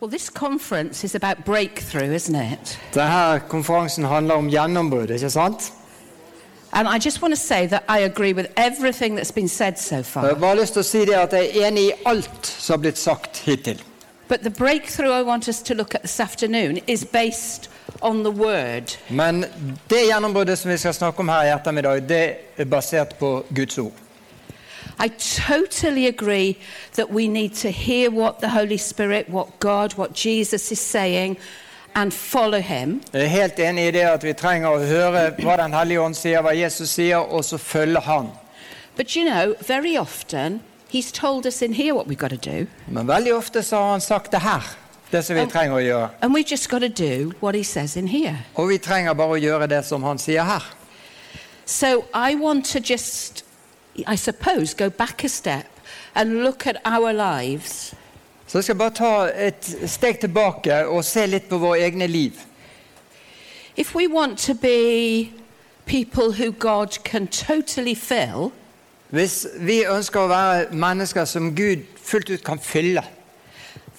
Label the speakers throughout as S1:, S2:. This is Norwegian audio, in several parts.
S1: Well, this conference is about breakthrough, isn't it?
S2: Denne konferansen handler om gjennombrudd, ikke sant?
S1: And I just want to say that I agree with everything that's been said so
S2: Jeg
S1: far.
S2: har bare lyst til å si det at jeg er enig i alt som har blitt sagt hittil.
S1: But the breakthrough I want us to look at this afternoon is based on the Word.
S2: Men det gjennombruddet som vi skal snakke om her i ettermiddag, det er basert på Guds ord.
S1: I totally agree that we need to hear what the Holy Spirit, what God, what Jesus is saying, and follow Him.
S2: Jeg er helt enig i det at vi trenger å høre hva Den hellige ånd sier, hva Jesus sier, og så følge Han.
S1: But you know, very often He's told us in here what we've got to do,
S2: Men veldig ofte så har Han sagt det her, det som vi trenger å gjøre.
S1: and we've just got to do what He says in here.
S2: Og vi trenger bare å gjøre det som Han sier her.
S1: So I want to just, I suppose, go back a step and look at our lives
S2: Så jeg skal bare ta et steg tilbake og se litt på våre egne liv.
S1: If we want to be people who God can totally fill,
S2: Hvis vi ønsker å være mennesker som Gud fullt ut kan fylle,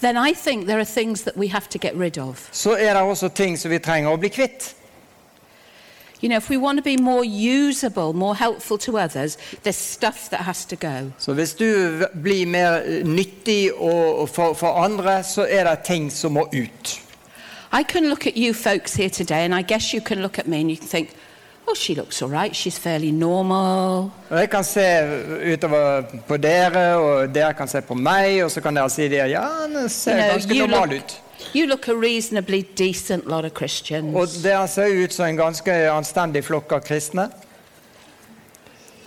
S1: then I think there are things that we have to get rid of.
S2: så er det også ting som vi trenger å bli kvitt.
S1: You know, if we want to be more usable, more helpful to others, there's stuff that has to go.
S2: Så hvis du v- blir mer eh, nyttig og, og for, for andre, så er det ting som må ut.
S1: I can look at you folks here today, and I guess you can look at me and you can think, oh, she looks all right, she's fairly normal.
S2: Og jeg kan se utover på dere, og dere kan se på meg, og så kan dere si det, ja, den
S1: You
S2: ser
S1: know,
S2: ganske
S1: you
S2: normal
S1: look,
S2: ut.
S1: you look a reasonably decent lot of Christians.
S2: Og dere ser ut som en ganske anstendig flokk av kristne.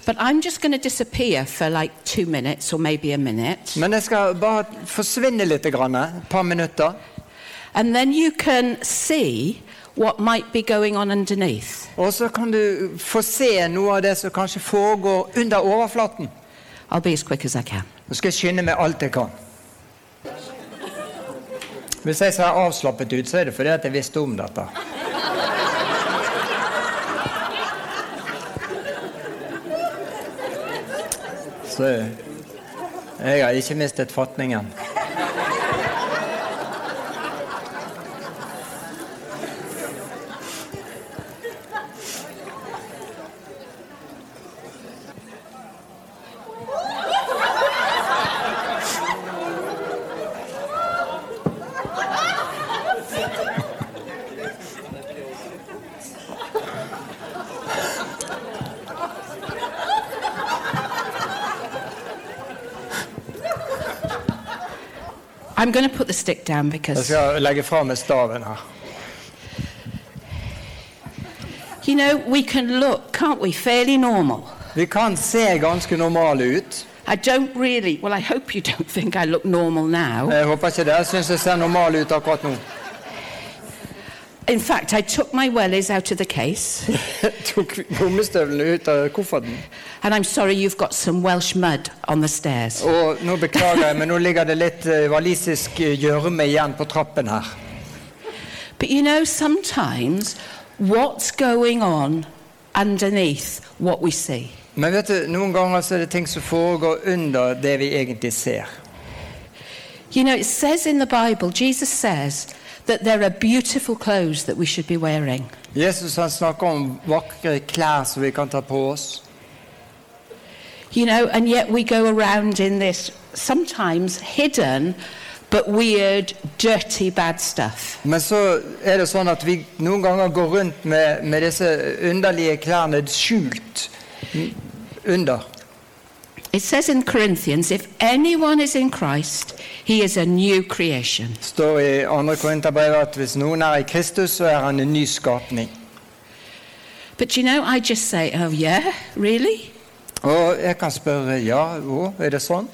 S1: But I'm just going to disappear for like two minutes or maybe a minute.
S2: Men jeg skal bare forsvinne litt, grann, et par minutter.
S1: And then you can see what might be going on underneath.
S2: Og så kan du få se noe av det som kanskje foregår under overflaten.
S1: I'll be as quick as I can.
S2: Nå skal jeg skynde meg alt jeg kan. Hvis jeg ser avslappet ut, så er det fordi at jeg visste om dette. Så jeg har ikke mistet fatningen.
S1: I'm going to put the stick down
S2: Jeg
S1: because,
S2: skal legge fra meg staven her.
S1: you know, we can look, can't we? Fairly normal.
S2: Vi kan se ganske normale ut.
S1: I don't really, well, I hope you don't think I look normal now.
S2: Jeg håper ikke dere syns jeg ser normal ut akkurat nå.
S1: In fact, I took my wellies out of the case,
S2: Jeg tok gummistøvlene ut av kofferten.
S1: and I'm sorry you've got some Welsh mud on the stairs.
S2: Og nå beklager jeg, men nå ligger det litt eh, walisisk eh, gjørme igjen på trappen her.
S1: But you know, sometimes what's going on underneath what we see.
S2: Men vet du, noen ganger så er det ting som foregår under det vi egentlig ser.
S1: You know, it says in the Bible, Jesus says that there are beautiful clothes that we should be wearing.
S2: Jesus han snakker om vakre klær som vi kan ta på oss.
S1: You know, and yet we go around in this sometimes hidden but weird, dirty, bad stuff.
S2: Men så er det sånn at vi noen ganger går rundt med, med disse underlige klærne skjult mm, under.
S1: It says in Corinthians, if anyone is in Christ, he is a new creation.
S2: Det står i 2. Korinterbrevet at hvis noen er i Kristus, så er han en ny skapning.
S1: But you know, I just say, oh, yeah, really?
S2: Og jeg kan spørre ja, å, er det sånn?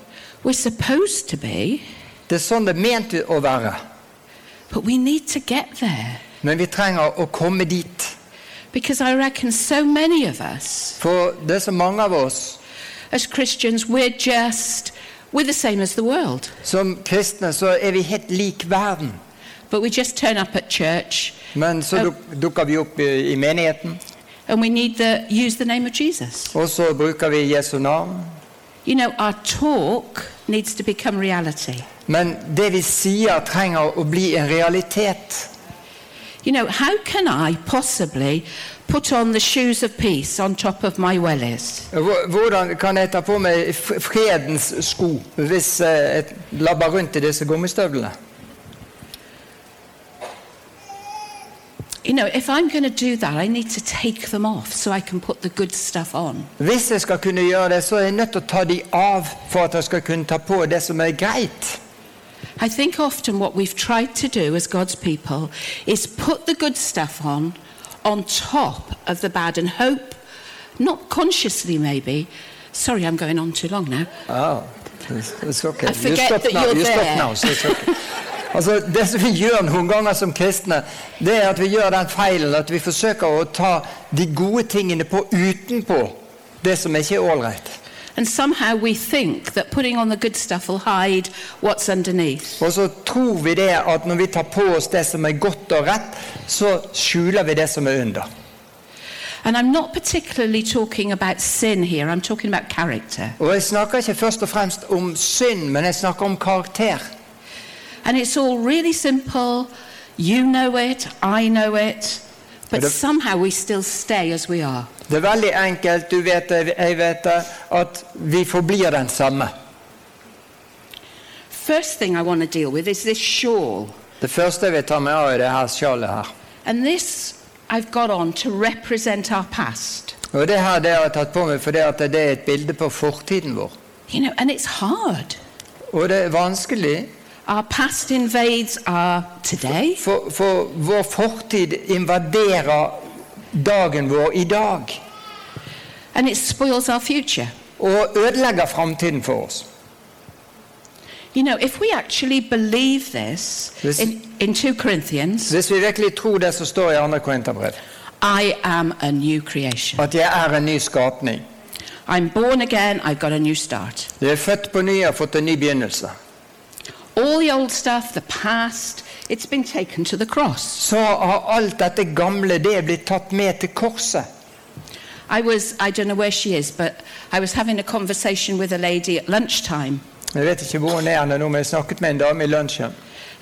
S1: We're supposed to be,
S2: Det er sånn det er ment å være.
S1: but we need to get there
S2: Men vi trenger å komme dit.
S1: because I reckon so many of us
S2: For det er så mange av oss
S1: As Christians, we're just, we're the same as the world.
S2: som kristne, så er vi helt lik verden.
S1: But we just turn up at church
S2: Men så duk- dukker vi opp i, i menigheten,
S1: and we need to use the name of Jesus.
S2: og så bruker vi Jesu navn.
S1: You know, our talk needs to become reality.
S2: Men det vi sier, trenger å bli en realitet.
S1: You know, how can I possibly put on the shoes of peace on top of my wellies?
S2: Hvor- Hvordan kan jeg ta på meg f- fredens sko hvis eh, jeg labber rundt i disse gummistøvlene?
S1: You know, if I'm going to do that, I need to take them off so I can put the good stuff on.
S2: Hvis jeg skal kunne gjøre det, så er jeg nødt til å ta de av for at jeg skal kunne ta på det som er greit.
S1: I think often what we've tried to do as God's people is put the good stuff on, on top of the bad, and hope, not consciously maybe. Sorry, I'm going on too long now.
S2: Oh, it's it's okay.
S1: I forget that
S2: now.
S1: you're
S2: you stop
S1: there.
S2: now, so it's okay. Altså, det som vi gjør noen ganger som kristne, det er at vi gjør den feilen at vi forsøker å ta de gode tingene på utenpå det som ikke er ålreit.
S1: And somehow we think that putting on the good stuff will hide what's underneath.
S2: Og så tror vi det at når vi tar på oss det som er godt og rett, så skjuler vi det som er under.
S1: And I'm not particularly talking about sin here, I'm talking about character.
S2: Og jeg snakker ikke først og fremst om synd, men jeg snakker om karakter.
S1: And it's all really simple. You know it, I know it. But
S2: But if-
S1: somehow we still stay as we are.
S2: Det er veldig enkelt, du vet det, jeg vet det, at vi forblir den samme.
S1: First thing I want to deal with is this shawl.
S2: Det første jeg vil ta meg av, er det her sjalet her.
S1: And this I've got on to represent our past.
S2: Og det her det har jeg tatt på meg fordi at det er et bilde på fortiden vår.
S1: You know, and it's hard.
S2: Og det er vanskelig,
S1: Our past invades our today.
S2: for, for vår fortid invaderer dagen vår i dag.
S1: And it spoils our future.
S2: Og ødelegger framtiden for oss.
S1: You know, if we actually believe this,
S2: This-
S1: in, in 2 Corinthians,
S2: Hvis vi virkelig tror det som står i 2. Korinterbrev,
S1: I am a new creation.
S2: at jeg er en ny skapning.
S1: I'm born again, I've got a new start.
S2: Jeg er født på ny og har fått en ny begynnelse.
S1: All the old stuff, the past, it's been taken to the cross.
S2: Så har alt dette gamle det blitt tatt med til korset.
S1: I was, I don't know where she is, but I was having a conversation with a lady at lunchtime,
S2: Jeg vet ikke hvor hun er henne nå, men jeg snakket med en dame i lunsjen.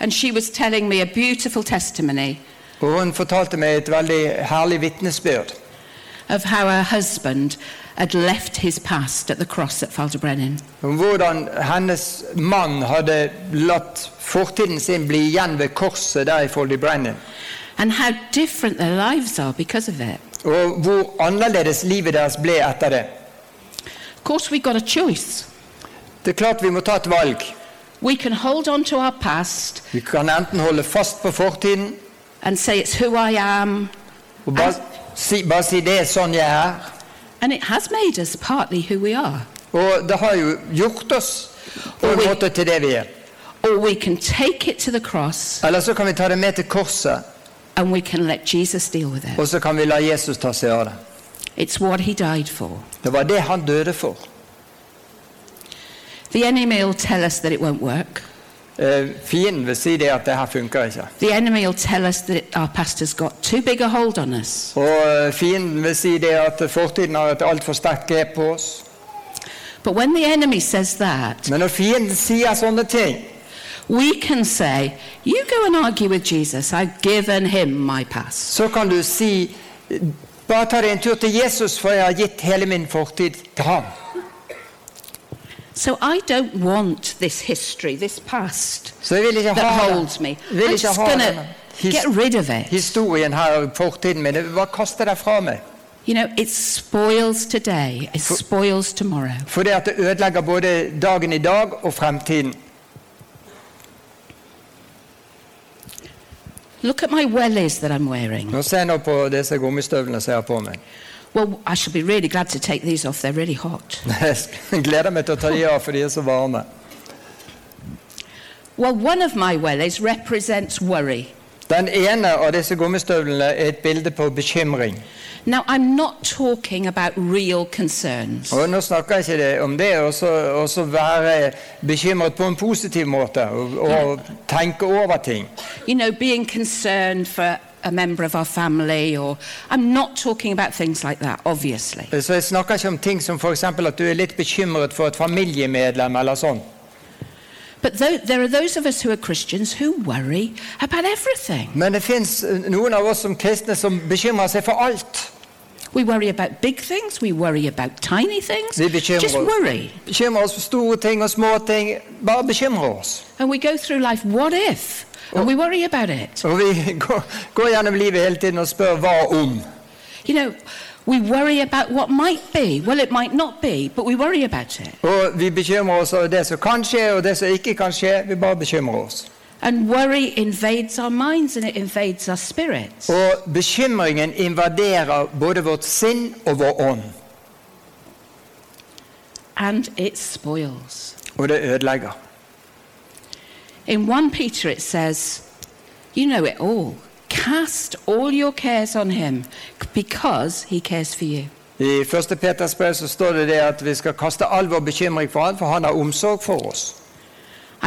S1: and she was telling me a beautiful testimony
S2: Og hun fortalte meg et veldig herlig vitnesbyrd.
S1: of how her husband had left his past at the cross at Falderbrennen.
S2: Om hvordan hennes mann hadde latt fortiden sin bli igjen ved korset der i Foldybrennen.
S1: And how different their lives are because of it.
S2: Og hvor annerledes livet deres ble etter det.
S1: Of course, we got a choice.
S2: Det er klart vi må ta et valg.
S1: We can hold on to our past
S2: Vi kan enten holde fast på fortiden
S1: and say it's who I am,
S2: og bare si, bare si 'det er sånn jeg er'.
S1: and it has made us partly who we are.
S2: Og det har jo gjort oss på en
S1: Og vi-
S2: måte til det vi er.
S1: Or we can take it to the cross
S2: Eller så kan vi ta det med til korset,
S1: and we can let Jesus deal with it.
S2: og så kan vi la Jesus ta seg av det.
S1: It's what he died for.
S2: Det var det han døde for.
S1: The enemy will tell us that it won't work.
S2: Eh, Fienden vil si det at det her funker ikke.
S1: The enemy will tell us that our past has got too big a hold on us.
S2: Og eh, fienden vil si det at fortiden har et altfor sterkt grep på oss.
S1: But when the enemy says that,
S2: Men når fienden sier sånne ting,
S1: we can say, You go and argue with Jesus. I've given him my past.
S2: så kan du si bare ta deg en tur til Jesus, for jeg har gitt hele min fortid til ham.
S1: So I don't want this history, this past
S2: Så jeg vil ikke
S1: that
S2: ha
S1: holds me.
S2: Vil
S1: I'm
S2: ikke
S1: just
S2: ha
S1: going
S2: denne
S1: to get
S2: his-
S1: rid of it.
S2: historien her, fortiden min. Jeg vil bare kaste det fra meg.
S1: You know, it spoils today, it spoils tomorrow.
S2: Fordi at det ødelegger både dagen i dag og fremtiden.
S1: Look at my wellies that I'm wearing.
S2: Nå ser jeg nå på disse gummistøvlene som jeg har på meg.
S1: Well, I should be really glad to take these off. They're really hot.
S2: Jeg gleder meg til å ta de av, for de er så varme.
S1: Well, one of my wellies represents worry.
S2: Den ene av disse gummistøvlene er et bilde på bekymring.
S1: Now, I'm not talking about real concerns.
S2: Og Nå snakker jeg ikke det om det å så- å så være bekymret på en positiv måte og, og tenke over ting.
S1: You know, being concerned for a member of our family, or I'm not talking about things like that, obviously.
S2: Så Jeg snakker ikke om ting som f.eks. at du er litt bekymret for et familiemedlem eller sånn.
S1: But tho- there are those of us who are Christians who worry about everything.
S2: Men det fins noen av oss som kristne som bekymrer seg for alt.
S1: We worry about big things, we worry about tiny things.
S2: Vi bekymrer
S1: Just
S2: oss.
S1: worry.
S2: Bekymrer oss for store ting og små ting. Bare bekymrer oss.
S1: And we go through life, what if? And we worry about it.
S2: Og vi går, går gjennom livet hele tiden og spør hva om.
S1: You know, we worry about what might be. Well, it might not be, but we worry about it.
S2: Og vi bekymrer oss over det som kan skje, og det som ikke kan skje. Vi bare bekymrer oss.
S1: And worry invades our minds and it invades our spirits.
S2: Og bekymringen invaderer både vårt sinn og vår ånd.
S1: And it spoils.
S2: Og det ødelegger.
S1: In 1 Peter, it says, You know it all. Cast all your cares on him because he cares for you.
S2: I 1. Peters brev så står det det at vi skal kaste all vår bekymring for han, for han har omsorg for oss.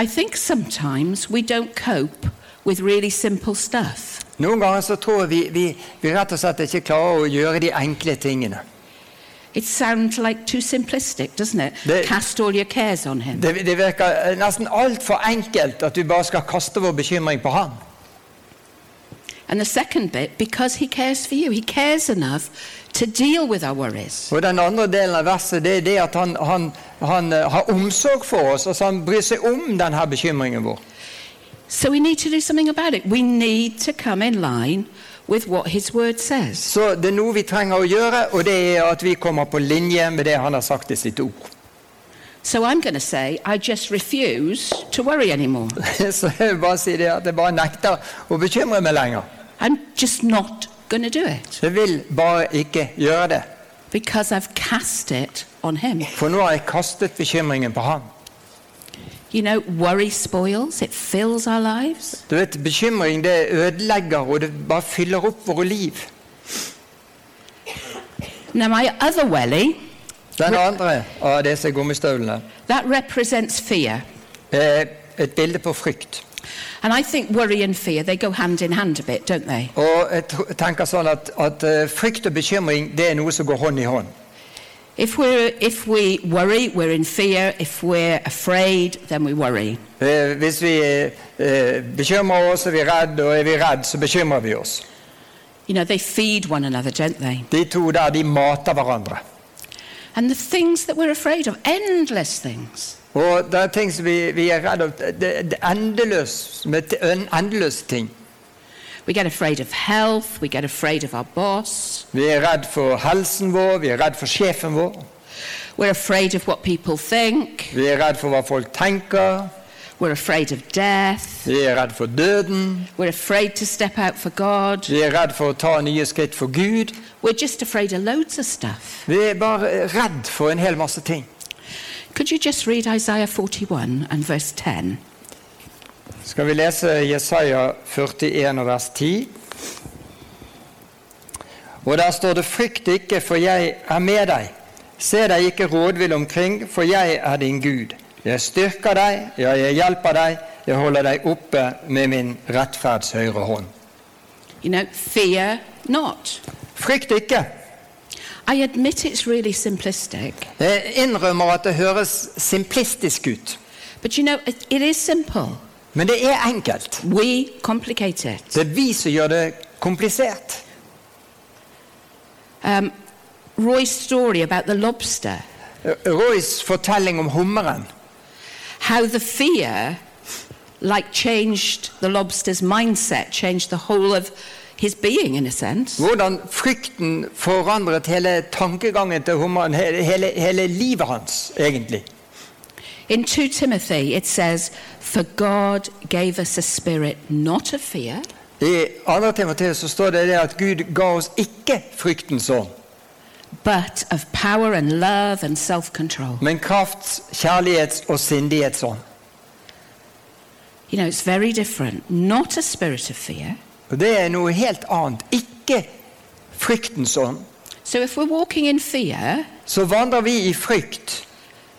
S1: I think sometimes we don't cope with really simple stuff.
S2: Noen ganger så tror jeg vi, vi, vi rett og slett ikke klarer å gjøre de enkle tingene.
S1: It sounds like too simplistic, doesn't it?
S2: They-
S1: Cast all your cares on him.
S2: Det, det virker eh, nesten altfor enkelt at vi bare skal kaste vår bekymring på han.
S1: And the second bit, because he cares for you. He cares enough to deal with our worries.
S2: Og den andre delen av verset det er det at han, han, han eh, har omsorg for oss. Altså han bryr seg om denne bekymringen vår.
S1: So we need to do something about it. We need to come in line with what his word says.
S2: Så det er noe vi trenger å gjøre, og det er at vi kommer på linje med det han har sagt i sitt ord.
S1: So I'm going to say, I just refuse to worry anymore.
S2: Så jeg vil bare si det at jeg bare nekter å bekymre meg lenger.
S1: I'm just not going to do it
S2: Jeg vil bare ikke gjøre det.
S1: because I've cast it on him.
S2: For nå har jeg kastet bekymringen på ham.
S1: You know, worry spoils, it fills our lives.
S2: Du vet, Bekymring det ødelegger, og det bare fyller opp våre liv.
S1: Now, my other welly,
S2: Den andre av disse gummistøvlene
S1: that represents fear.
S2: er et bilde på frykt.
S1: And I think worry and fear, they go hand in hand a bit, don't they?
S2: Og jeg tr- tenker sånn at, at eh, frykt og bekymring det er noe som går hånd i hånd.
S1: If, we're, if we worry, we're in fear. If we're afraid, then we worry.
S2: Eh, Hvis vi eh, bekymrer oss, er vi redd, og er vi redd, så bekymrer vi oss.
S1: You know, they feed one another, don't they?
S2: De to der, de mater hverandre.
S1: And the things that we're afraid of, endless things.
S2: Og det er ting som vi, vi er redd for. Det, det er endeløst med t- en endeløs ting.
S1: We get afraid of health, we get afraid of our boss,
S2: Vi er redd for helsen vår, vi er redd for sjefen vår.
S1: we're afraid of what people think,
S2: Vi er redd for hva folk tenker.
S1: we're afraid of death,
S2: Vi er redd for døden.
S1: we're afraid to step out for God,
S2: Vi er redd for å ta nye skritt for Gud.
S1: we're just afraid of loads of stuff.
S2: Vi er bare redd for en hel masse ting.
S1: Could you just read Isaiah 41 and verse 10?
S2: Skal vi lese Jesaja 41 og vers 10? Og der står det 'Frykt ikke, for jeg er med deg'. Se deg ikke rådvill omkring, for jeg er din Gud. Jeg styrker deg, ja, jeg hjelper deg, jeg holder deg oppe med min rettferds høyre hånd.
S1: You know, fear not.
S2: Frykt ikke.
S1: I admit it's really simplistic,
S2: Jeg innrømmer at det høres simplistisk ut,
S1: but you know, it, it is simple.
S2: men det er enkelt.
S1: We complicate it.
S2: Det er vi som gjør det komplisert.
S1: Um, Roy's story about the lobster,
S2: Roys fortelling om hummeren
S1: how the fear, like, changed the lobster's mindset, changed the whole of his being, in a sense.
S2: Hvordan frykten forandret hele tankegangen til hummeren, he- hele, hele livet hans, egentlig.
S1: In 2 Timothy, it says, For God gave us a spirit not of fear,
S2: I 2. Timoteus så står det, det at Gud ga oss ikke fryktens ånd,
S1: but of power and love and self control.
S2: men krafts, kjærlighets og sindighetsånd.
S1: You know, it's very different. Not a spirit of fear.
S2: Og Det er noe helt annet. Ikke fryktens ånd.
S1: So if we're walking in fear,
S2: Så vandrer vi i frykt,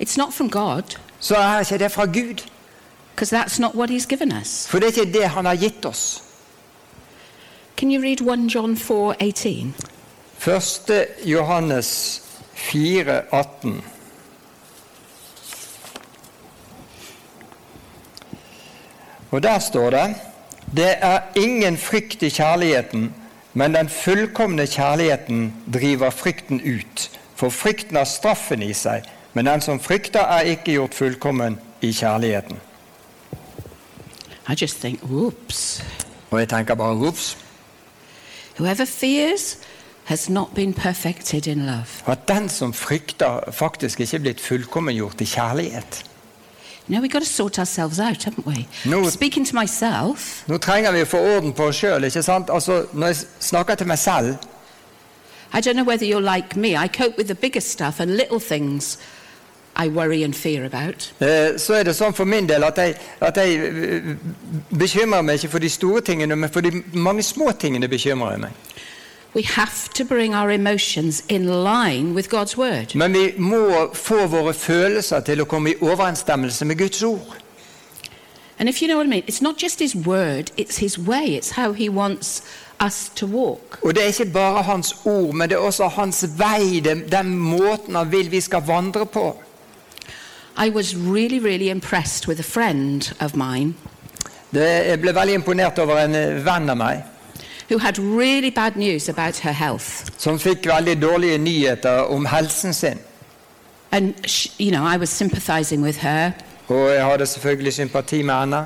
S1: it's not from God,
S2: så er ikke det fra Gud.
S1: because that's not what He's given us.
S2: For det er ikke det Han har gitt oss.
S1: Can you read 1 John 4 18?
S2: 1. Johannes 4, 18. Og der står det Det er ingen frykt i kjærligheten, men den fullkomne kjærligheten driver frykten ut. For frykten har straffen i seg, men den som frykter, er ikke gjort fullkommen i kjærligheten.
S1: I just think, whoops.
S2: Og jeg tenker bare ups.
S1: Whoever fears has not been perfected in love.
S2: At den som frykter, faktisk ikke er blitt fullkommengjort i kjærlighet.
S1: You know, we've got to sort ourselves out, haven't we?
S2: No.
S1: Speaking to myself,
S2: Nå trenger vi å få orden på oss sjøl. Altså, når jeg snakker til meg selv,
S1: I don't know whether you're like me. I cope with the bigger stuff and little things I worry and fear about.
S2: Eh, så er det sånn for min del at jeg, at jeg eh, bekymrer meg ikke for de store tingene, men for de mange små tingene bekymrer jeg meg.
S1: We have to bring our emotions in line with God's word.
S2: Men vi må få våre følelser til å komme i overensstemmelse med Guds ord.
S1: And if you know what I mean, it's not just his word, it's his way, it's how he wants us to walk.
S2: Og det er ikke bare hans ord, men det er også hans vei, den, den måten han vil vi skal vandre på.
S1: I was really, really impressed with a friend of mine
S2: Det, jeg ble veldig imponert over en eh, venn av meg
S1: who had really bad news about her health.
S2: som fikk veldig dårlige nyheter om helsen sin.
S1: And, she, you know, I was sympathizing with her.
S2: Og jeg hadde selvfølgelig sympati med henne.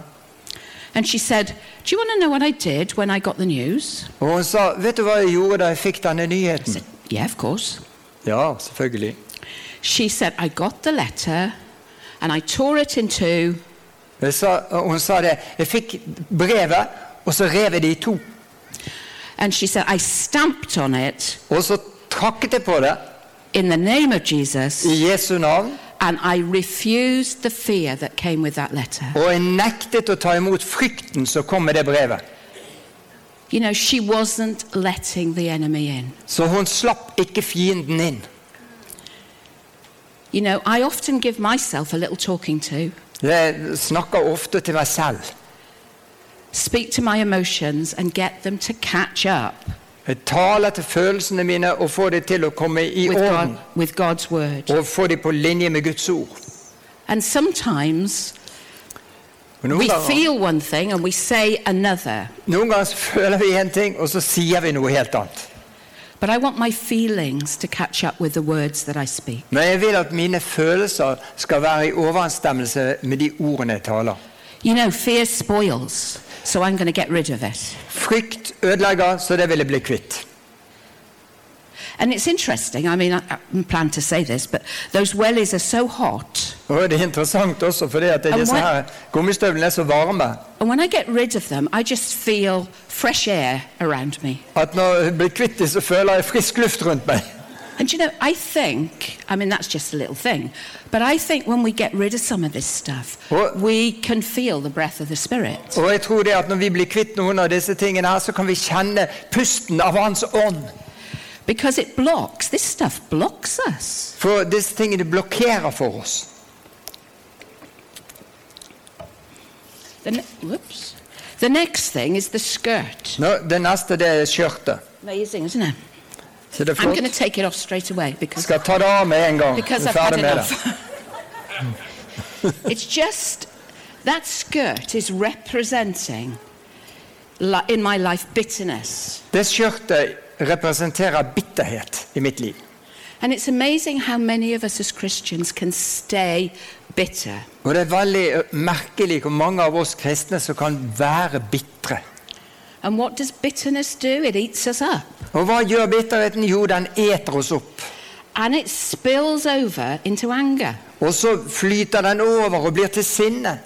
S1: And she said, Do you want to know what I did when I got the news?
S2: Og hun sa 'Vet du hva jeg gjorde da jeg fikk denne
S1: I
S2: nyheten?'
S1: said, Yeah, of course.
S2: Ja, selvfølgelig.
S1: She said, I got the letter and I tore it in two
S2: Jeg sa, og hun sa det. Jeg fikk brevet, og så rev jeg det i to.
S1: and she said, I stamped on it
S2: Og så trakket jeg på det
S1: in the name of Jesus
S2: i Jesu navn,
S1: and I refused the fear that came with that letter.
S2: og jeg nektet å ta imot frykten som kom med det brevet.
S1: You know, she wasn't letting the enemy in.
S2: Så hun slapp ikke fienden inn.
S1: You know, I often give myself a little talking to,
S2: Jeg snakker ofte til meg selv.
S1: speak to my emotions and get them to catch up
S2: Jeg taler til følelsene mine og får dem til å komme i
S1: with,
S2: orden.
S1: God, with God's word.
S2: Og får dem på linje med Guds ord.
S1: And sometimes
S2: Og noen,
S1: We
S2: ganger,
S1: feel one thing and we say another.
S2: noen ganger så føler vi én ting, og så sier vi noe helt annet.
S1: But I want my feelings to catch up with the words that I speak.
S2: Men jeg vil at mine følelser skal være i overensstemmelse med de ordene jeg taler.
S1: You know, fear spoils, so I'm going to get rid of it.
S2: Frykt ødelegger, så det vil jeg bli kvitt.
S1: And it's interesting, I mean, I, I didn't plan to say this, but those wellies are so hot.
S2: Og det er interessant også fordi at
S1: Og
S2: disse
S1: hva-
S2: her gummistøvlene er så varme
S1: And when I get rid of them, I just feel fresh air around me.
S2: at når jeg blir kvitt dem, så føler jeg frisk luft rundt meg.
S1: And you know, I think, I mean, that's just a little thing, but I think when we get rid of some of this stuff,
S2: What?
S1: we can feel the breath of the Spirit.
S2: Og jeg tror det at når vi blir kvitt noen av disse tingene her, så kan vi kjenne pusten av Hans ånd.
S1: Because it blocks, this stuff blocks us.
S2: For disse tingene blokkerer for oss.
S1: The, ne- whoops. the next thing is the skirt.
S2: Nå, det neste det er skjørtet.
S1: Amazing, isn't it?
S2: Så det er
S1: I'm going to
S2: flott.
S1: take it off straight away because,
S2: Skal ta det av med en gang.
S1: because
S2: Jeg
S1: I've
S2: er
S1: had
S2: ferdig med det.
S1: enough. it's just that skirt is representing li- in my life bitterness.
S2: Det skjørtet representerer bitterhet i mitt liv.
S1: And it's amazing how many of us as Christians can stay bitter.
S2: Og det er veldig eh, merkelig hvor mange av oss kristne som kan være bitre.
S1: And what does bitterness do? It eats us up.
S2: Og hva gjør bitterheten? Jo, den eter oss opp.
S1: And it spills over into anger.
S2: Og så flyter den over og blir til sinne.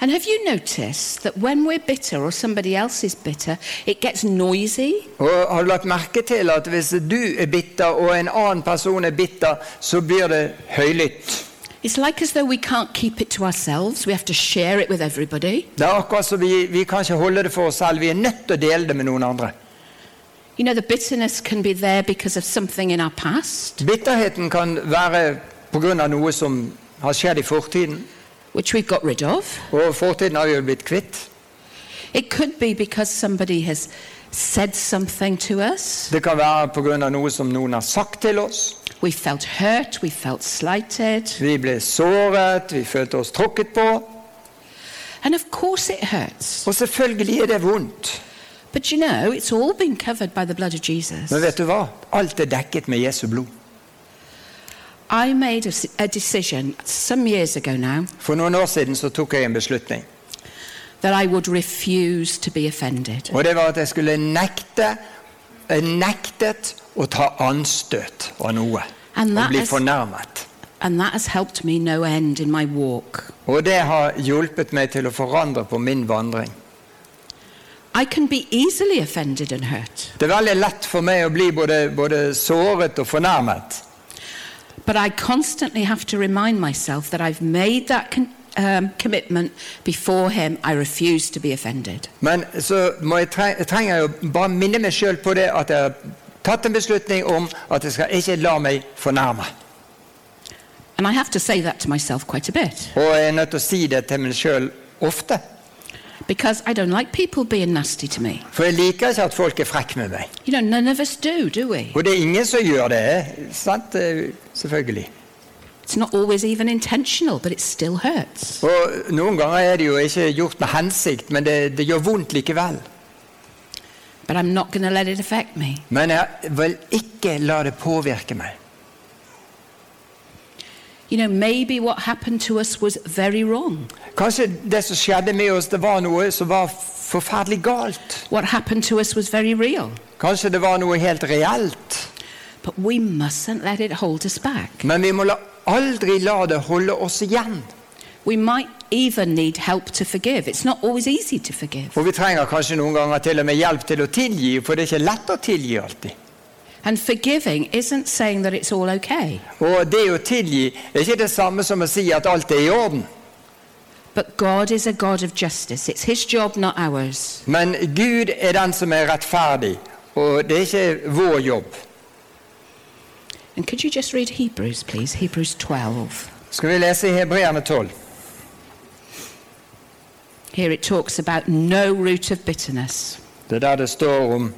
S1: And have you noticed that when we're bitter or somebody else is bitter, it gets noisy?
S2: Og har du lagt merke til at hvis du er bitter og en annen person er bitter, så blir det høylytt?
S1: It's like as though we can't keep it to ourselves. We have to share it with everybody.
S2: Det er akkurat som vi, vi kan ikke holde det for oss selv, vi er nødt til å dele det med noen andre.
S1: You know, the bitterness can be there because of something in our past,
S2: Bitterheten kan være pga. noe som har skjedd i fortiden,
S1: which we've got rid of.
S2: og fortiden har vi jo blitt kvitt.
S1: It could be because somebody has said something to us.
S2: Det kan være pga. noe som noen har sagt til oss.
S1: We felt hurt, we felt slighted.
S2: Vi ble såret, vi følte oss tråkket på.
S1: And of course it hurts.
S2: Og selvfølgelig er det vondt.
S1: But you know, it's all been covered by the blood of Jesus.
S2: Men vet du hva? Alt er dekket med Jesu blod.
S1: I made a, s- a decision some years ago now
S2: For noen år siden så tok jeg en beslutning.
S1: that I would refuse to be offended.
S2: Og det var at jeg skulle nekte Jeg nektet å ta anstøt av noe.
S1: And
S2: Og
S1: that
S2: bli
S1: is-
S2: fornærmet.
S1: And that has helped me no end in my walk.
S2: Og det har hjulpet meg til å forandre på min vandring.
S1: I can be easily offended and hurt,
S2: Det er veldig lett for meg å bli både, både såret og fornærmet.
S1: but I constantly have to remind myself that I've made that con- um, commitment before Him. I refuse to be offended.
S2: Men så må jeg tre jeg trenger jeg jo bare minne meg sjøl på det at jeg har tatt en beslutning om at jeg skal ikke la meg fornærme.
S1: And I have to say that to myself quite a bit
S2: Og jeg er nødt til å si det til meg sjøl ofte.
S1: because I don't like people being nasty to me.
S2: For jeg liker ikke at folk er frekke med meg.
S1: You know, none of us do, do we?
S2: Og det er ingen som gjør det. sant? Eh, Selvfølgelig.
S1: It's not always even intentional, but it still hurts.
S2: Og noen ganger er det jo ikke gjort med hensikt, men det, det gjør vondt likevel.
S1: But I'm not going to let it affect me.
S2: Men jeg vil ikke la det påvirke meg.
S1: You know, maybe what happened to us was very wrong.
S2: Kanskje det som skjedde med oss, det var noe som var forferdelig galt.
S1: What happened to us was very real.
S2: Kanskje det var noe helt reelt.
S1: But we mustn't let it hold us back.
S2: Men vi må la, aldri la det holde oss igjen.
S1: We might even need help to forgive. It's not always easy to forgive.
S2: Og vi trenger kanskje noen ganger til og med hjelp til å tilgi, for det er ikke lett å tilgi alltid.
S1: And forgiving isn't saying that it's all okay,
S2: Og det å tilgi er ikke det samme som å si at alt er i orden.
S1: but God is a God of justice. It's His job, not ours.
S2: Men Gud er den som er rettferdig, og det er ikke vår jobb.
S1: And could you just read Hebrews, please? Hebrews 12.
S2: Skal vi lese i Hebreerne 12?
S1: Here it talks about no root of bitterness.
S2: Det er der det står om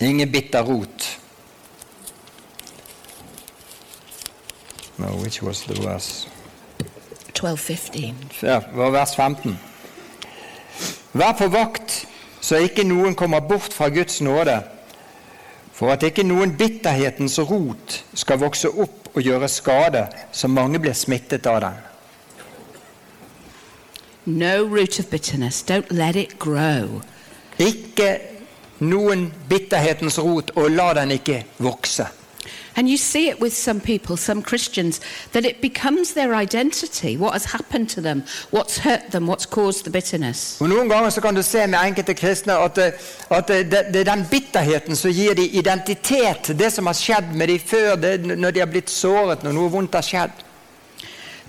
S2: ingen bitter rot. No, which was the verse?
S1: 12:15.
S2: Ja, det var vers 15. Vær på vakt, så ikke noen kommer bort fra Guds nåde, for at ikke noen bitterhetens rot skal vokse opp og gjøre skade, så mange blir smittet av den.
S1: No root of bitterness. Don't let it grow.
S2: Ikke noen bitterhetens rot, og la den ikke vokse.
S1: And you see it with some people, some Christians, that it becomes their identity, what has happened to them, what's hurt them, what's caused the bitterness.
S2: Og Noen ganger så kan du se med enkelte kristne at, eh, at eh, det, det er den bitterheten som gir dem identitet. Det som har skjedd med dem før, det, når de har blitt såret, når noe vondt har skjedd.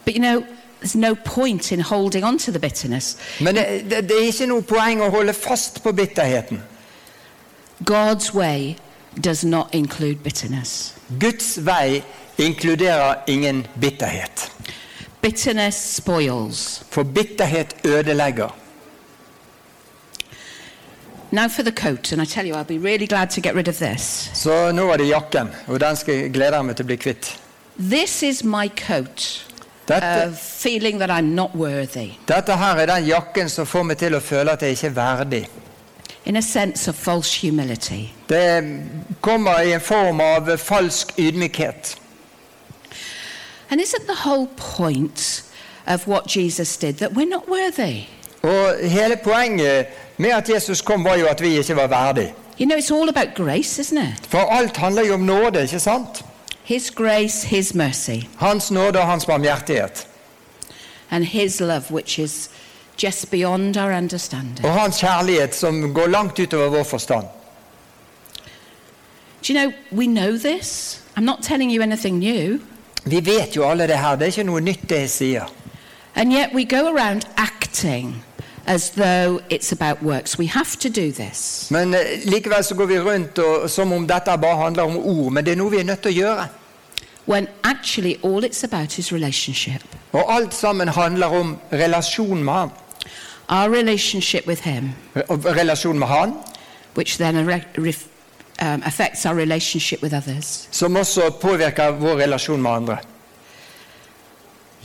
S1: But you know, there's no point in holding on to the bitterness.
S2: Men det, det, det er ikke noe poeng å holde fast på bitterheten.
S1: God's way does not include bitterness.
S2: Guds vei inkluderer ingen bitterhet.
S1: Bitterness spoils.
S2: For bitterhet ødelegger.
S1: Now for the coat, and I tell you, I'll be really glad to get rid of this.
S2: Så nå er det jakken, og den skal jeg glede meg til å bli kvitt.
S1: This is my coat
S2: Dette,
S1: of feeling that I'm not worthy,
S2: dette her er den jakken som får meg til å føle at jeg ikke er verdig.
S1: in a sense of false humility.
S2: Det kommer i en form av falsk ydmykhet.
S1: And isn't the whole point of what Jesus did that we're not worthy?
S2: Og hele poenget med at Jesus kom, var jo at vi ikke var verdig.
S1: You know, it's all about grace, isn't it?
S2: For alt handler jo om nåde, ikke sant?
S1: His grace, His mercy,
S2: Hans nåde og hans barmhjertighet.
S1: and His love, which is just beyond our understanding.
S2: Og hans kjærlighet som går langt utover vår forstand.
S1: Do you know, we know this. I'm not telling you anything new.
S2: Vi vet jo alle det her, det er ikke noe nytt det jeg sier.
S1: And yet we go around acting as though it's about works. We have to do this.
S2: Men eh, likevel så går vi rundt og, som om dette bare handler om ord, men det er noe vi er nødt til å gjøre.
S1: When actually all it's about is relationship.
S2: Og alt sammen handler om relasjon med han.
S1: Our relationship with Him.
S2: Re- og Relasjon med han,
S1: which then are- ref- um, affects our relationship with others.
S2: som også påvirker vår relasjon med andre.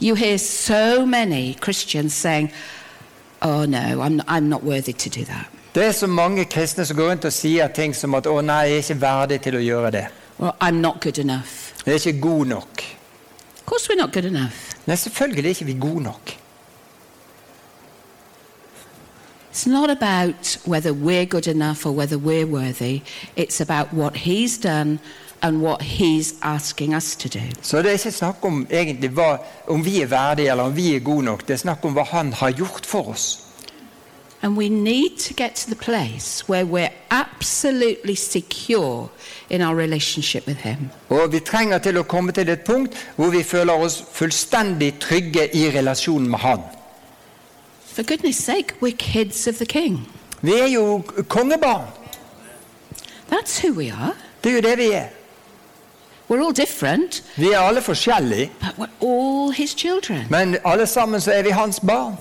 S1: You hear so many Christians saying, oh no, I'm, I'm not worthy to do that.
S2: Det er så mange kristne som går rundt og sier ting som at 'Å nei, jeg er ikke verdig til å gjøre det'.
S1: Or I'm not good enough.
S2: 'Jeg er ikke god nok'.
S1: Of course, we're not good enough.
S2: Nei, selvfølgelig er ikke vi gode nok.
S1: It's not about whether we're good enough or whether we're worthy. It's about what He's done and what He's asking us to do.
S2: Så det er ikke snakk om egentlig hva, om vi er verdige eller om vi er gode nok. Det er snakk om hva Han har gjort for oss.
S1: And we need to get to the place where we're absolutely secure in our relationship with Him.
S2: Og vi trenger til å komme til et punkt hvor vi føler oss fullstendig trygge i relasjonen med Han.
S1: For goodness sake, we're kids of the King.
S2: Vi er jo kongebarn.
S1: That's who we are.
S2: Det er jo det vi er.
S1: We're all different,
S2: Vi er alle forskjellige,
S1: but we're all His children.
S2: men alle sammen så er vi hans barn.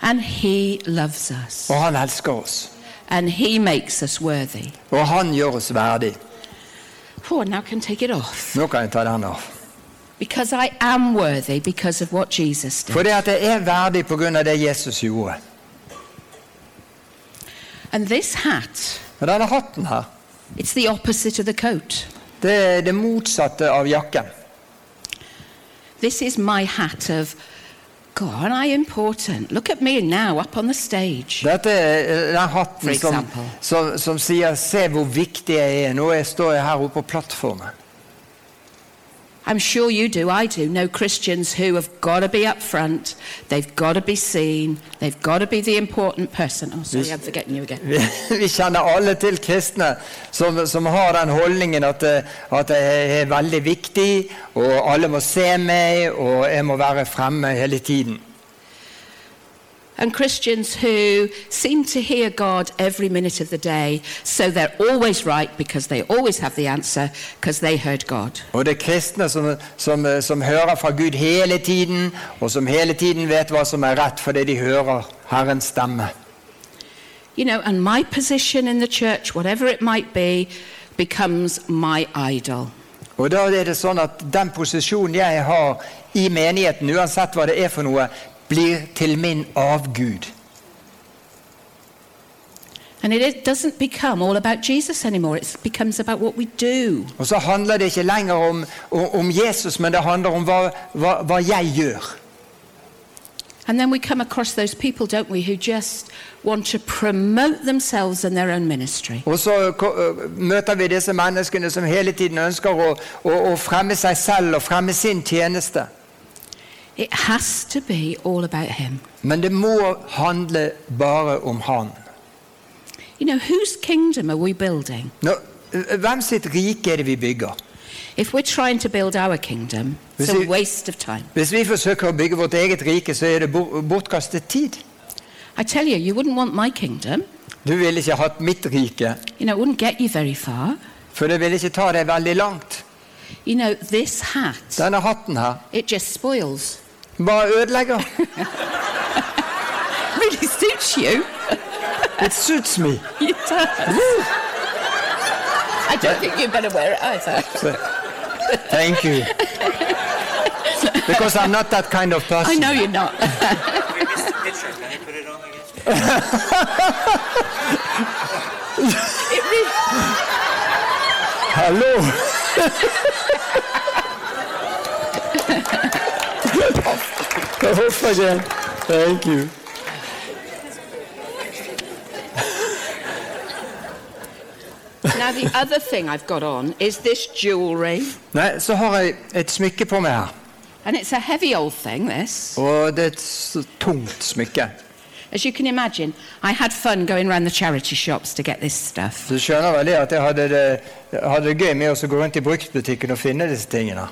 S1: And He loves us.
S2: Og han elsker oss.
S1: And He makes us worthy.
S2: Og han gjør oss verdig.
S1: Oh, now I can take it off.
S2: Nå kan jeg ta den av.
S1: Because I am worthy because of what Jesus did.
S2: For det at jeg er verdig pga. det Jesus gjorde.
S1: And this hat,
S2: Og denne hatten her,
S1: it's the opposite of the coat.
S2: det er det motsatte av jakken.
S1: This is my hat of, God, am I important? Look at me now up on the stage.
S2: Dette er eh, den hatten
S1: For
S2: som,
S1: example.
S2: som, som sier 'se hvor viktig jeg er'. Nå jeg står jeg her oppe på plattformen.
S1: I'm sure you do, I do, know Christians who have got to be up front, they've got to be seen, they've got to be the important person. Oh, sorry, I'm forgetting you again.
S2: Vi, vi kjenner alle til kristne som, som har den holdningen at, eh, at jeg er veldig viktig, og alle må se meg, og jeg må være fremme hele tiden.
S1: And Christians who seem to hear God every minute of the day, so they're always right because they always have the answer because they heard God.
S2: Og det er kristne som, som, eh, som hører fra Gud hele tiden, og som hele tiden vet hva som er rett, fordi de hører Herrens stemme.
S1: You know, and my position in the church, whatever it might be, becomes my idol.
S2: Og da er det sånn at den posisjonen jeg har i menigheten, uansett hva det er for noe, blir til min avgud.
S1: And it, it doesn't become all about Jesus anymore, it becomes about what we do.
S2: Og så handler det ikke lenger om, om, om Jesus, men det handler om hva, hva, hva jeg gjør.
S1: And then we come across those people, don't we, who just want to promote themselves and their own ministry.
S2: Og så ko- øh, møter vi disse menneskene som hele tiden ønsker å, å, å fremme seg selv og fremme sin tjeneste.
S1: It has to be all about Him.
S2: Men det må handle bare om Han.
S1: You know, whose kingdom are we building?
S2: Nå, øh, hvem sitt rike er det vi bygger?
S1: If we're trying to build our kingdom, it's
S2: Is
S1: a
S2: it-
S1: waste of time.
S2: Hvis vi forsøker å bygge vårt eget rike, så er det bor- bortkastet tid.
S1: I tell you, you wouldn't want my kingdom.
S2: Du ville ikke hatt mitt rike,
S1: You know, it wouldn't get you very far.
S2: for det ville ikke ta deg veldig langt.
S1: You know, this hat,
S2: Denne hatten her
S1: it just spoils.
S2: bare ødelegger.
S1: really suits you.
S2: It suits me.
S1: It does. I don't think you better wear it either.
S2: Thank you. Because I'm not that kind of person.
S1: I know you're not.
S3: We missed the picture. Can you put it on again?
S1: It really,
S2: Hallo! Huff again. Thank you.
S1: now, the other thing I've got on is this jewellery.
S2: Nei, så har jeg et smykke på meg her.
S1: And it's a heavy old thing, this.
S2: Og det er et s- tungt smykke.
S1: As you can imagine, I had fun going round the charity shops to get this stuff.
S2: Så du skjønner vel det at jeg hadde det, hadde det gøy med å gå rundt i bruktbutikken og finne disse tingene.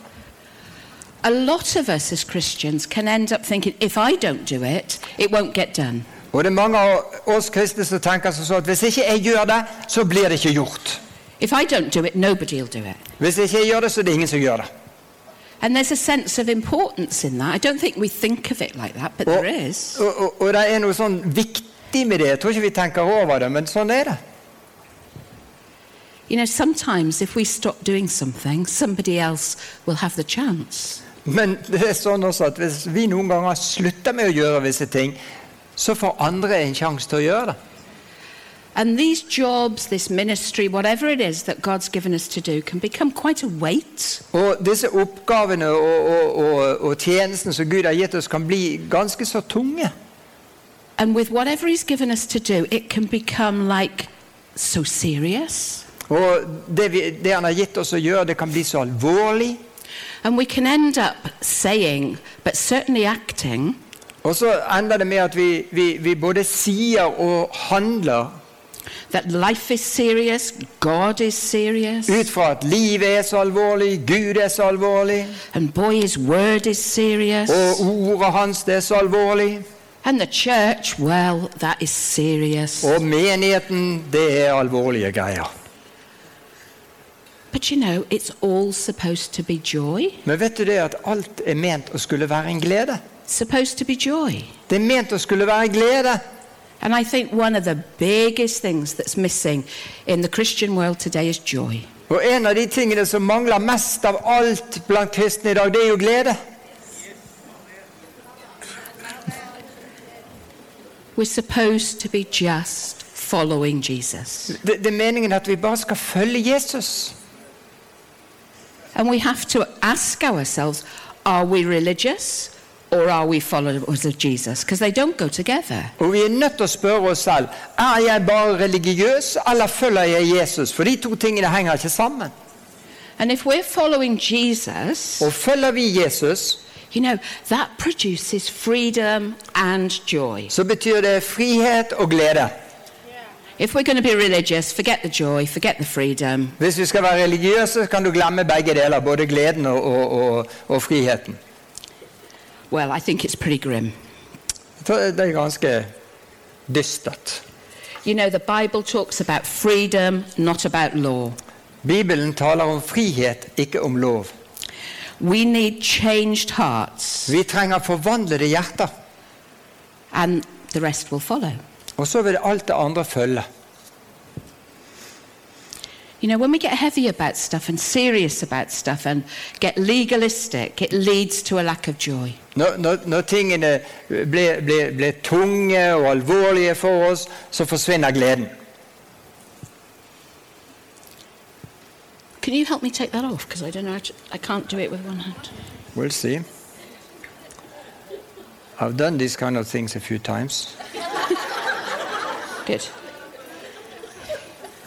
S1: A lot of us as Christians can end up thinking, if I don't do it, it won't get done.
S2: Og det er mange av oss kristne som tenker som så at hvis ikke jeg gjør det, så blir det ikke gjort.
S1: If I don't do it, nobody will do it.
S2: Hvis ikke jeg gjør det, så er det ingen som gjør det.
S1: And there's a sense of importance in that. I don't think we think of it like that, but
S2: Og,
S1: there is.
S2: og, og, og det er noe sånn viktig med det. Jeg tror ikke vi tenker over det, men sånn er det.
S1: You know, sometimes if we stop doing something, somebody else will have the chance.
S2: Men det er sånn også at hvis vi noen ganger slutter med å gjøre visse ting, så får andre en sjanse til å gjøre det.
S1: And these jobs, this ministry, whatever it is that God's given us to do, can become quite a weight.
S2: Og disse oppgavene og, og, og, og tjenesten som Gud har gitt oss, kan bli ganske så tunge.
S1: And with whatever He's given us to do, it can become like so serious.
S2: Og det, vi, det Han har gitt oss å gjøre, det kan bli så alvorlig.
S1: And we can end up saying, but certainly acting,
S2: Og så ender det med at vi, vi, vi både sier og handler
S1: that life is serious, God is serious,
S2: ut fra at livet er så alvorlig, Gud er så alvorlig,
S1: and boy, His word is serious.
S2: og ordet hans det er så alvorlig,
S1: And the church, well, that is serious.
S2: og menigheten det er alvorlige greier.
S1: But you know, it's all supposed to be joy.
S2: Men vet du det at alt er ment å skulle være en glede?
S1: It's supposed to be joy.
S2: Det er ment å skulle være glede.
S1: And I think one of the biggest things that's missing in the Christian world today is joy.
S2: Og en av de tingene som mangler mest av alt blant kristne i dag, det er jo glede.
S1: We're supposed to be just following Jesus.
S2: Det, det er meningen at vi bare skal følge Jesus.
S1: And we have to ask ourselves are we religious or are we followers of Jesus? Because they don't go together.
S2: Og vi er nødt til å spørre oss selv er jeg bare religiøs, eller følger jeg Jesus? For de to tingene henger ikke sammen.
S1: And if we're following Jesus,
S2: Og følger vi Jesus,
S1: you know, that produces freedom and joy.
S2: så betyr det frihet og glede.
S1: If we're going to be religious, forget the joy, forget the freedom.
S2: Hvis vi skal være religiøse, kan du glemme begge deler. Både gleden og, og, og, og friheten.
S1: Well, I think it's pretty grim.
S2: Jeg tror Det er ganske dystert.
S1: You know, the Bible talks about freedom, not about law.
S2: Bibelen taler om frihet, ikke om lov.
S1: We need changed hearts,
S2: Vi trenger forvandlede hjerter,
S1: and the rest will follow.
S2: og så vil alt det andre følge.
S1: You know, when we get heavy about stuff and serious about stuff and get legalistic, it leads to a lack of joy.
S2: Når, når, når tingene blir, blir, blir tunge og alvorlige for oss, så forsvinner gleden.
S1: Can you help me take that off? Because I don't know, how to, I can't do it with one hand.
S2: We'll see. I've done these kind of things a few times.
S1: Good.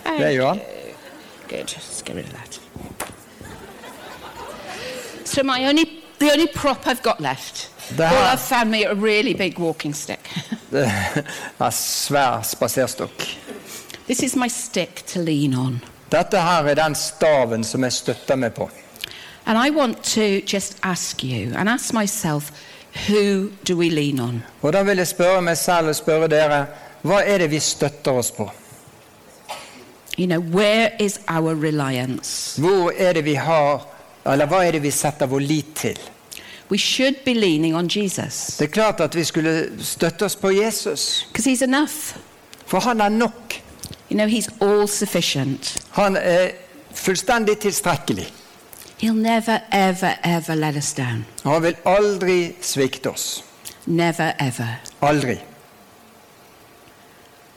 S2: There you are.
S1: Good. Let's get rid of that. So my only, the only prop I've got left.
S2: There.
S1: All I've found me a really big walking stick.
S2: Det er svær spaserstokk.
S1: this is my stick to lean on,
S2: Dette her er den staven som jeg støtter meg på.
S1: and I want to just ask you and ask myself, who do we lean on?
S2: Og da vil jeg spørre meg selv og spørre dere, hva er det vi støtter oss på?
S1: You know, where is our reliance?
S2: Hvor er det vi har, eller hva er det vi setter vår lit til?
S1: We should be leaning on Jesus
S2: Det er klart at vi skulle støtte oss på Jesus,
S1: because he's enough.
S2: for han er nok.
S1: You know, he's all sufficient.
S2: Han er fullstendig tilstrekkelig.
S1: He'll never, ever, ever let us down.
S2: Og Han vil aldri svikte oss.
S1: Never, ever.
S2: Aldri.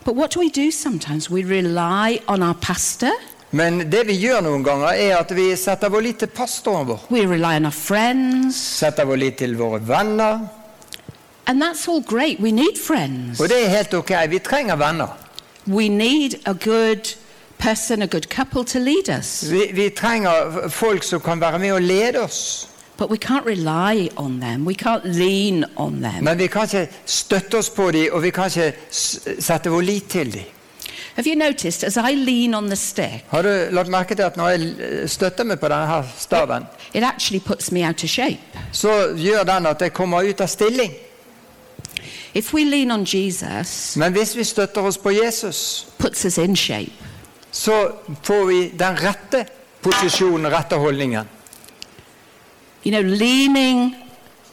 S1: But what do we do sometimes? We rely on our pastor,
S2: Men det vi gjør noen ganger, er at vi setter vår lit til pastoren vår.
S1: we rely on our friends,
S2: Setter vår lit til våre venner.
S1: and that's all great. We need friends.
S2: Og det er helt ok. Vi trenger venner.
S1: We need a good person, a good couple to lead us,
S2: Vi, vi trenger folk som kan være med og lede oss.
S1: but we can't rely on them. We can't lean on them.
S2: Men vi kan ikke støtte oss på dem, og vi kan ikke s- sette vår lit til dem.
S1: Have you noticed as I lean on the stick,
S2: Har du lagt merke til at når jeg eh, støtter meg på denne her staven,
S1: it actually puts me out of shape?
S2: så gjør den at jeg kommer ut av stilling.
S1: If we lean on Jesus,
S2: Men hvis vi støtter oss på Jesus,
S1: puts us in shape.
S2: så får vi den rette posisjonen, rette holdningen.
S1: You know, leaning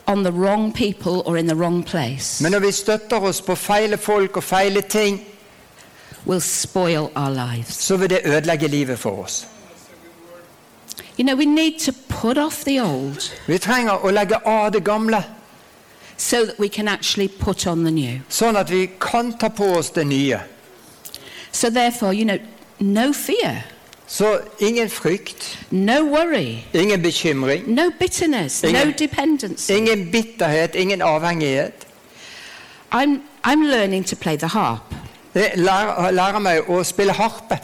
S1: on the wrong people or in the wrong place
S2: Men når vi støtter oss på feile folk og feile ting,
S1: will spoil our lives.
S2: så vil det ødelegge livet for oss.
S1: You know, we need to put off the old
S2: Vi trenger å legge av det gamle.
S1: so that we can actually put on the new.
S2: Sånn at vi kan ta på oss det nye.
S1: So, therefore, you know, no fear,
S2: Så ingen frykt,
S1: no worry,
S2: ingen bekymring,
S1: no bitterness, no
S2: Ingen-
S1: dependency.
S2: ingen bitterhet, ingen avhengighet.
S1: I'm, I'm learning to play the harp,
S2: Jeg lærer, lærer meg å spille harpe,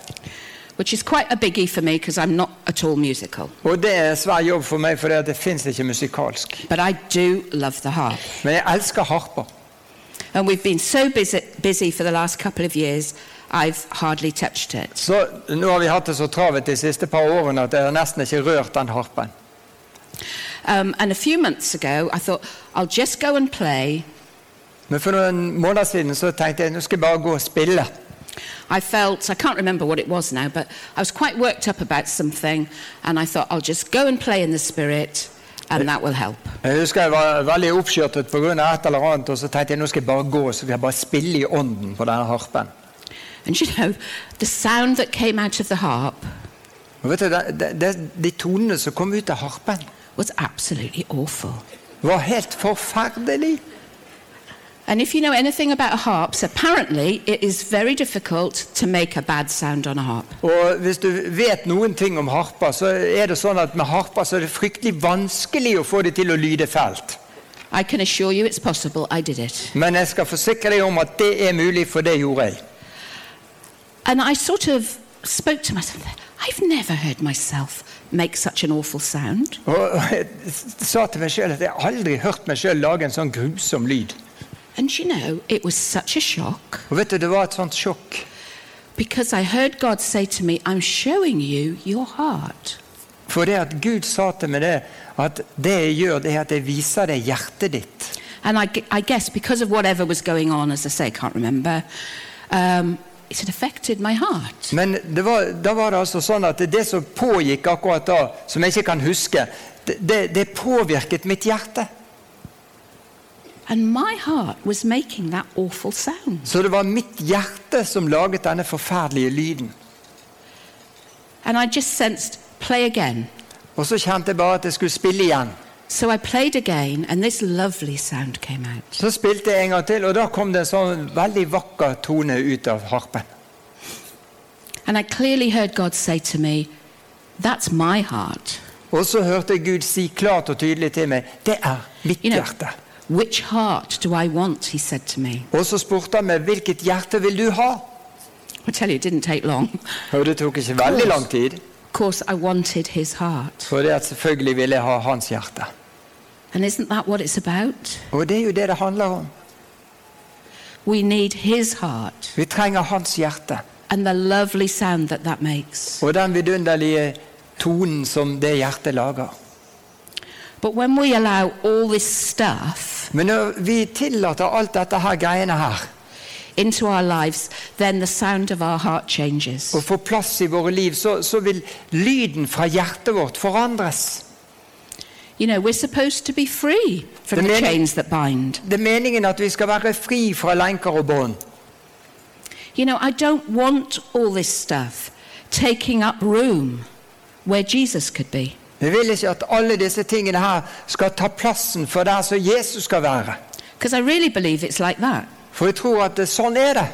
S1: which is quite a biggie for me because I'm not at all musical.
S2: og det er en svær jobb for meg, for det fins ikke musikalsk.
S1: But I do love the harp.
S2: Men jeg elsker harper.
S1: And we've been so busy, busy for the last couple of years, I've hardly touched it.
S2: Så nå har vi hatt det så travelt de siste par årene at jeg har nesten ikke rørt den harpen.
S1: Um, and a few months ago, I thought, I'll just go and play.
S2: Men for noen måneder siden så tenkte jeg nå skal jeg bare gå og spille.
S1: I felt, I can't remember what it was now, but I was quite worked up about something. And I thought, I'll just go and play in the spirit, and that will help.
S2: Jeg husker jeg var veldig oppskjørtet pga. et eller annet, og så tenkte jeg nå skal jeg bare gå så skal jeg bare spille i ånden på denne harpen.
S1: And you know, the sound that came out of the harp
S2: Og vet du, det, det, det, De tonene som kom ut av harpen,
S1: was absolutely awful.
S2: var helt forferdelig.
S1: And if you know anything about harps, apparently it is very difficult to make a bad sound on a harp.
S2: Og hvis du vet noen ting om harper, så er det sånn at med harper så er det fryktelig vanskelig å få det til å lyde fælt.
S1: I can assure you it's possible. I did it.
S2: Men jeg skal forsikre deg om at det er mulig, for det gjorde jeg.
S1: And I sort of spoke to myself, I've never heard myself make such an awful sound.
S2: Og jeg sa til meg sjøl at jeg aldri hørt meg sjøl lage en sånn grusom lyd.
S1: And you know, it was such a shock
S2: Og vet du, det var et sånt sjokk.
S1: because I heard God say to me, I'm showing you your heart.
S2: For det at Gud sa til meg det, at det jeg gjør, det er at jeg viser deg hjertet ditt.
S1: And I, gu- I guess because of whatever was going on, as I say, I can't remember, um, it had affected my heart.
S2: Men det var, da var det altså sånn at det som pågikk akkurat da, som jeg ikke kan huske, det, det, det påvirket mitt hjerte.
S1: And my heart was making that awful sound.
S2: Så det var mitt hjerte som laget denne forferdelige lyden.
S1: And I just sensed, play again.
S2: Og så kjente jeg bare at jeg skulle spille igjen.
S1: So I played again, and this lovely sound came out.
S2: Så spilte jeg en gang til, og da kom det en sånn veldig vakker tone ut av harpen.
S1: And I clearly heard God say to me, That's my heart.
S2: Og så hørte jeg Gud si klart og tydelig til meg det er mitt
S1: You know,
S2: hjerte.
S1: which heart do I want? He said to me.
S2: Og så spurte han meg hvilket hjerte vil du ha?
S1: I tell you, it didn't take long.
S2: Og det tok ikke veldig lang tid,
S1: Of course, I wanted his heart.
S2: for det at selvfølgelig ville jeg ha hans hjerte.
S1: And isn't that what it's about?
S2: Og det er jo det det handler om.
S1: We need his heart
S2: Vi trenger hans hjerte.
S1: and the lovely sound that that makes.
S2: Og den vidunderlige tonen som det hjertet lager.
S1: But when we allow all this stuff
S2: Men når vi tillater alt dette her greiene her,
S1: into our lives, then the sound of our heart changes.
S2: og får plass i våre liv, så, så vil lyden fra hjertet vårt forandres.
S1: You know, we're supposed to be free
S2: The
S1: from the
S2: minute-
S1: chains that bind.
S2: Det er meningen at vi skal være fri fra lenker og bånd.
S1: You know, I don't want all this stuff taking up room where Jesus could be.
S2: Vi vil ikke at alle disse tingene her skal ta plassen for der som Jesus skal være.
S1: Because I really believe it's like that.
S2: For jeg tror at det, sånn er det.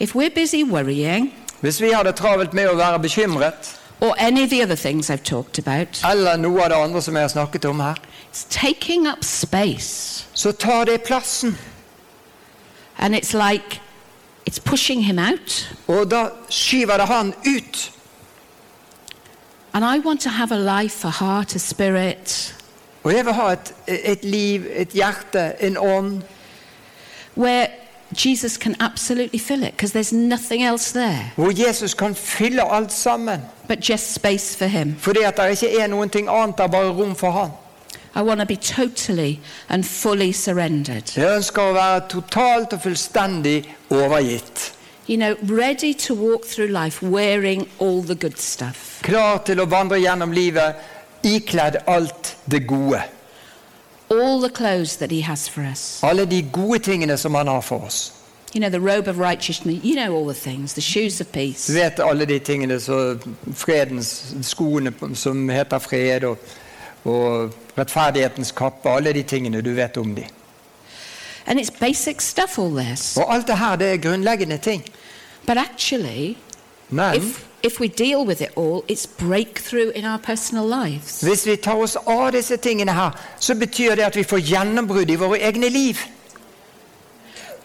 S1: If we're busy worrying
S2: Hvis vi har det travelt med å være bekymret,
S1: or any of the other things I've talked about,
S2: eller noe av det andre som jeg har snakket om her,
S1: it's taking up space.
S2: så tar det plassen.
S1: And it's like it's pushing him out.
S2: Og da skyver det han ut.
S1: And I want to have a life, a heart, a spirit
S2: Og jeg vil ha et, et liv, et hjerte, en ånd,
S1: where Jesus can absolutely fill it because there's nothing else there
S2: hvor Jesus kan fylle alt sammen.
S1: but just space for him.
S2: Fordi at det ikke er noen ting annet, det er bare rom for han.
S1: I want to be totally and fully surrendered.
S2: Jeg ønsker å være totalt og fullstendig overgitt.
S1: You know, ready to walk through life wearing all the good stuff.
S2: Klar til å vandre gjennom livet ikledd alt det gode.
S1: All the clothes that he has for us.
S2: Alle de gode tingene som han har for oss.
S1: You know, the robe of righteousness. You know all the things. The shoes of
S2: Du
S1: peace.
S2: vet alle de tingene som fredens skoene som heter fred, og, og rettferdighetens kappe. Alle de tingene du vet om de.
S1: And it's basic stuff, all this.
S2: Og alt det her, det er grunnleggende ting.
S1: But actually,
S2: Men
S1: if, if we deal with it all, it's breakthrough in our personal lives.
S2: hvis vi tar oss av disse tingene her, så betyr det at vi får gjennombrudd i våre egne liv.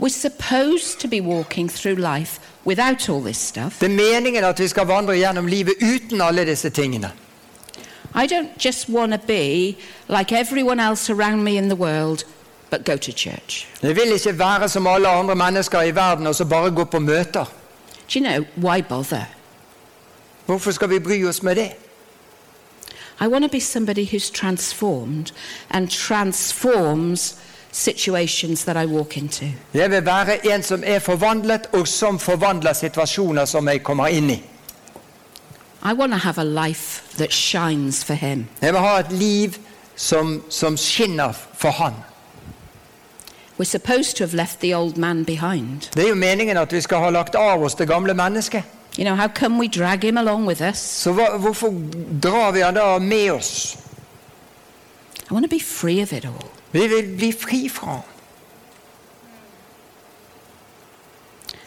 S1: We're supposed to be walking through life without all this stuff.
S2: Det er meningen at vi skal vandre gjennom livet uten alle disse tingene.
S1: I don't just want to be like everyone else around me in the world, but go to church.
S2: Jeg vil ikke være som alle andre mennesker i verden og så bare gå på møter.
S1: Do you know why bother?
S2: Hvorfor skal vi bry oss med det?
S1: I want to be somebody who's transformed and transforms situations that I walk into.
S2: Jeg vil være en som er forvandlet, og som forvandler situasjoner som jeg kommer inn i.
S1: I want to have a life that shines for Him.
S2: Jeg vil ha et liv som, som skinner for Han.
S1: We're supposed to have left the old man behind.
S2: Det er jo meningen at vi skal ha lagt av oss det gamle mennesket.
S1: You know, how come we drag him along with us?
S2: Så hva, hvorfor drar vi han da med oss?
S1: I want to be free of it all.
S2: Vi vil bli fri fra han.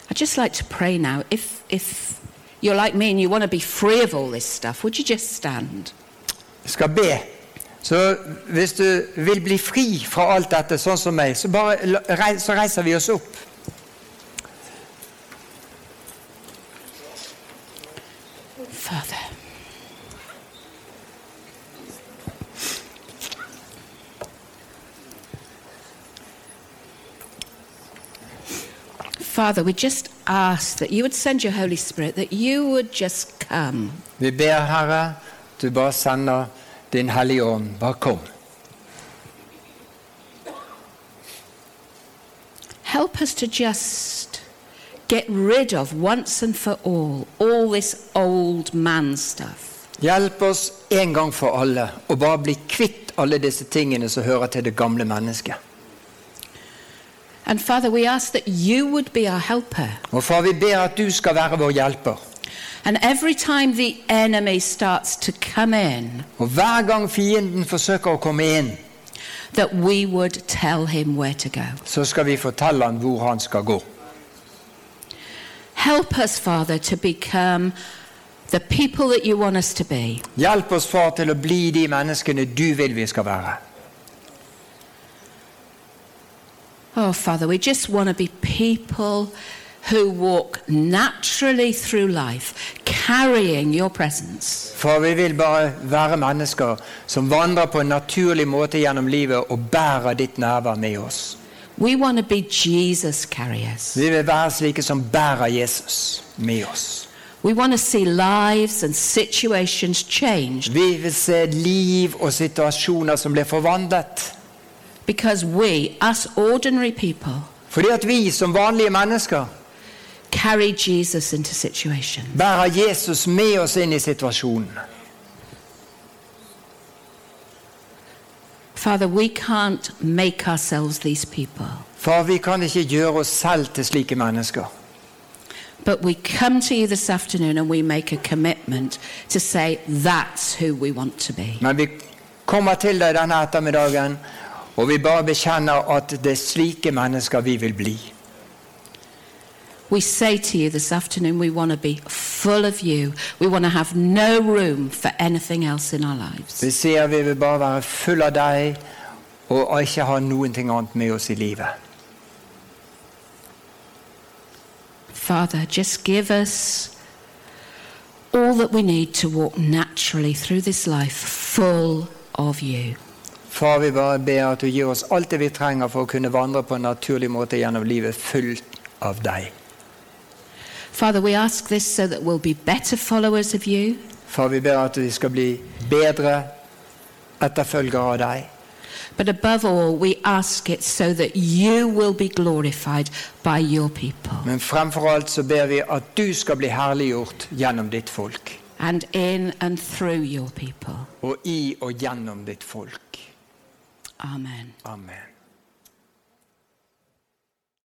S1: I'd just like to pray now. If, if you're like me and you want to be free of all this stuff, would you just stand?
S2: Jeg skal be. Så hvis du vil bli fri fra alt dette, sånn som meg, så, bare, la- rei- så reiser vi oss opp.
S1: Father, Father, we just ask that you would send your Holy Spirit, that you would just come.
S2: Vi ber, Herre, du bare sender din Hellige Ånd. Bare kom.
S1: Help us to just get rid of once and for all all this old man stuff.
S2: Hjelp oss en gang for alle å bare bli kvitt alle disse tingene som hører til det gamle mennesket.
S1: And Father, we ask that you would be our helper.
S2: Og Far, vi ber at du skal være vår hjelper.
S1: And every time the enemy starts to come in,
S2: Og hver gang fienden forsøker å komme inn,
S1: that we would tell him where to go.
S2: så skal vi fortelle han hvor han skal gå.
S1: Help us, Father, to become the people that you want us to be.
S2: Hjelp oss, far, til å bli de menneskene du vil vi skal være.
S1: Oh, Father, we just want to be people who walk naturally through life, carrying your presence.
S2: For vi vil bare være mennesker som vandrer på en naturlig måte gjennom livet og bærer ditt nærvær med oss.
S1: We want to be Jesus carriers.
S2: Vi vil være slike som bærer Jesus med oss.
S1: We want to see lives and situations changed
S2: Vi vil se liv og situasjoner som blir forvandlet.
S1: because we, us ordinary people,
S2: Fordi at vi som vanlige mennesker
S1: carry Jesus into situations.
S2: bærer Jesus med oss inn i situasjonen.
S1: Father, we can't make ourselves these people,
S2: For vi kan ikke gjøre oss selv til slike mennesker.
S1: but we come to you this afternoon and we make a commitment to say that's who we want to be.
S2: Men vi kommer til deg denne ettermiddagen, og vi bare bekjenner at det er slike mennesker vi vil bli.
S1: We say to you this afternoon we want to be full of you. We want to have no room for anything else in our lives.
S2: Vi sier vi vil bare være full av deg og ikke ha noen ting annet med oss i livet.
S1: Father, just give us all that we need to walk naturally through this life full of you.
S2: Far, vi bare ber at du gir oss alt det vi trenger for å kunne vandre på en naturlig måte gjennom livet fullt av deg.
S1: Father, we ask this so that we'll be better followers of you,
S2: Far, vi ber at vi skal bli bedre etterfølgere av deg.
S1: but above all, we ask it so that you will be glorified by your people
S2: Men fremfor alt så ber vi at du skal bli herliggjort gjennom ditt folk.
S1: and in and through your people.
S2: Og i og gjennom ditt folk.
S1: Amen.
S2: Amen.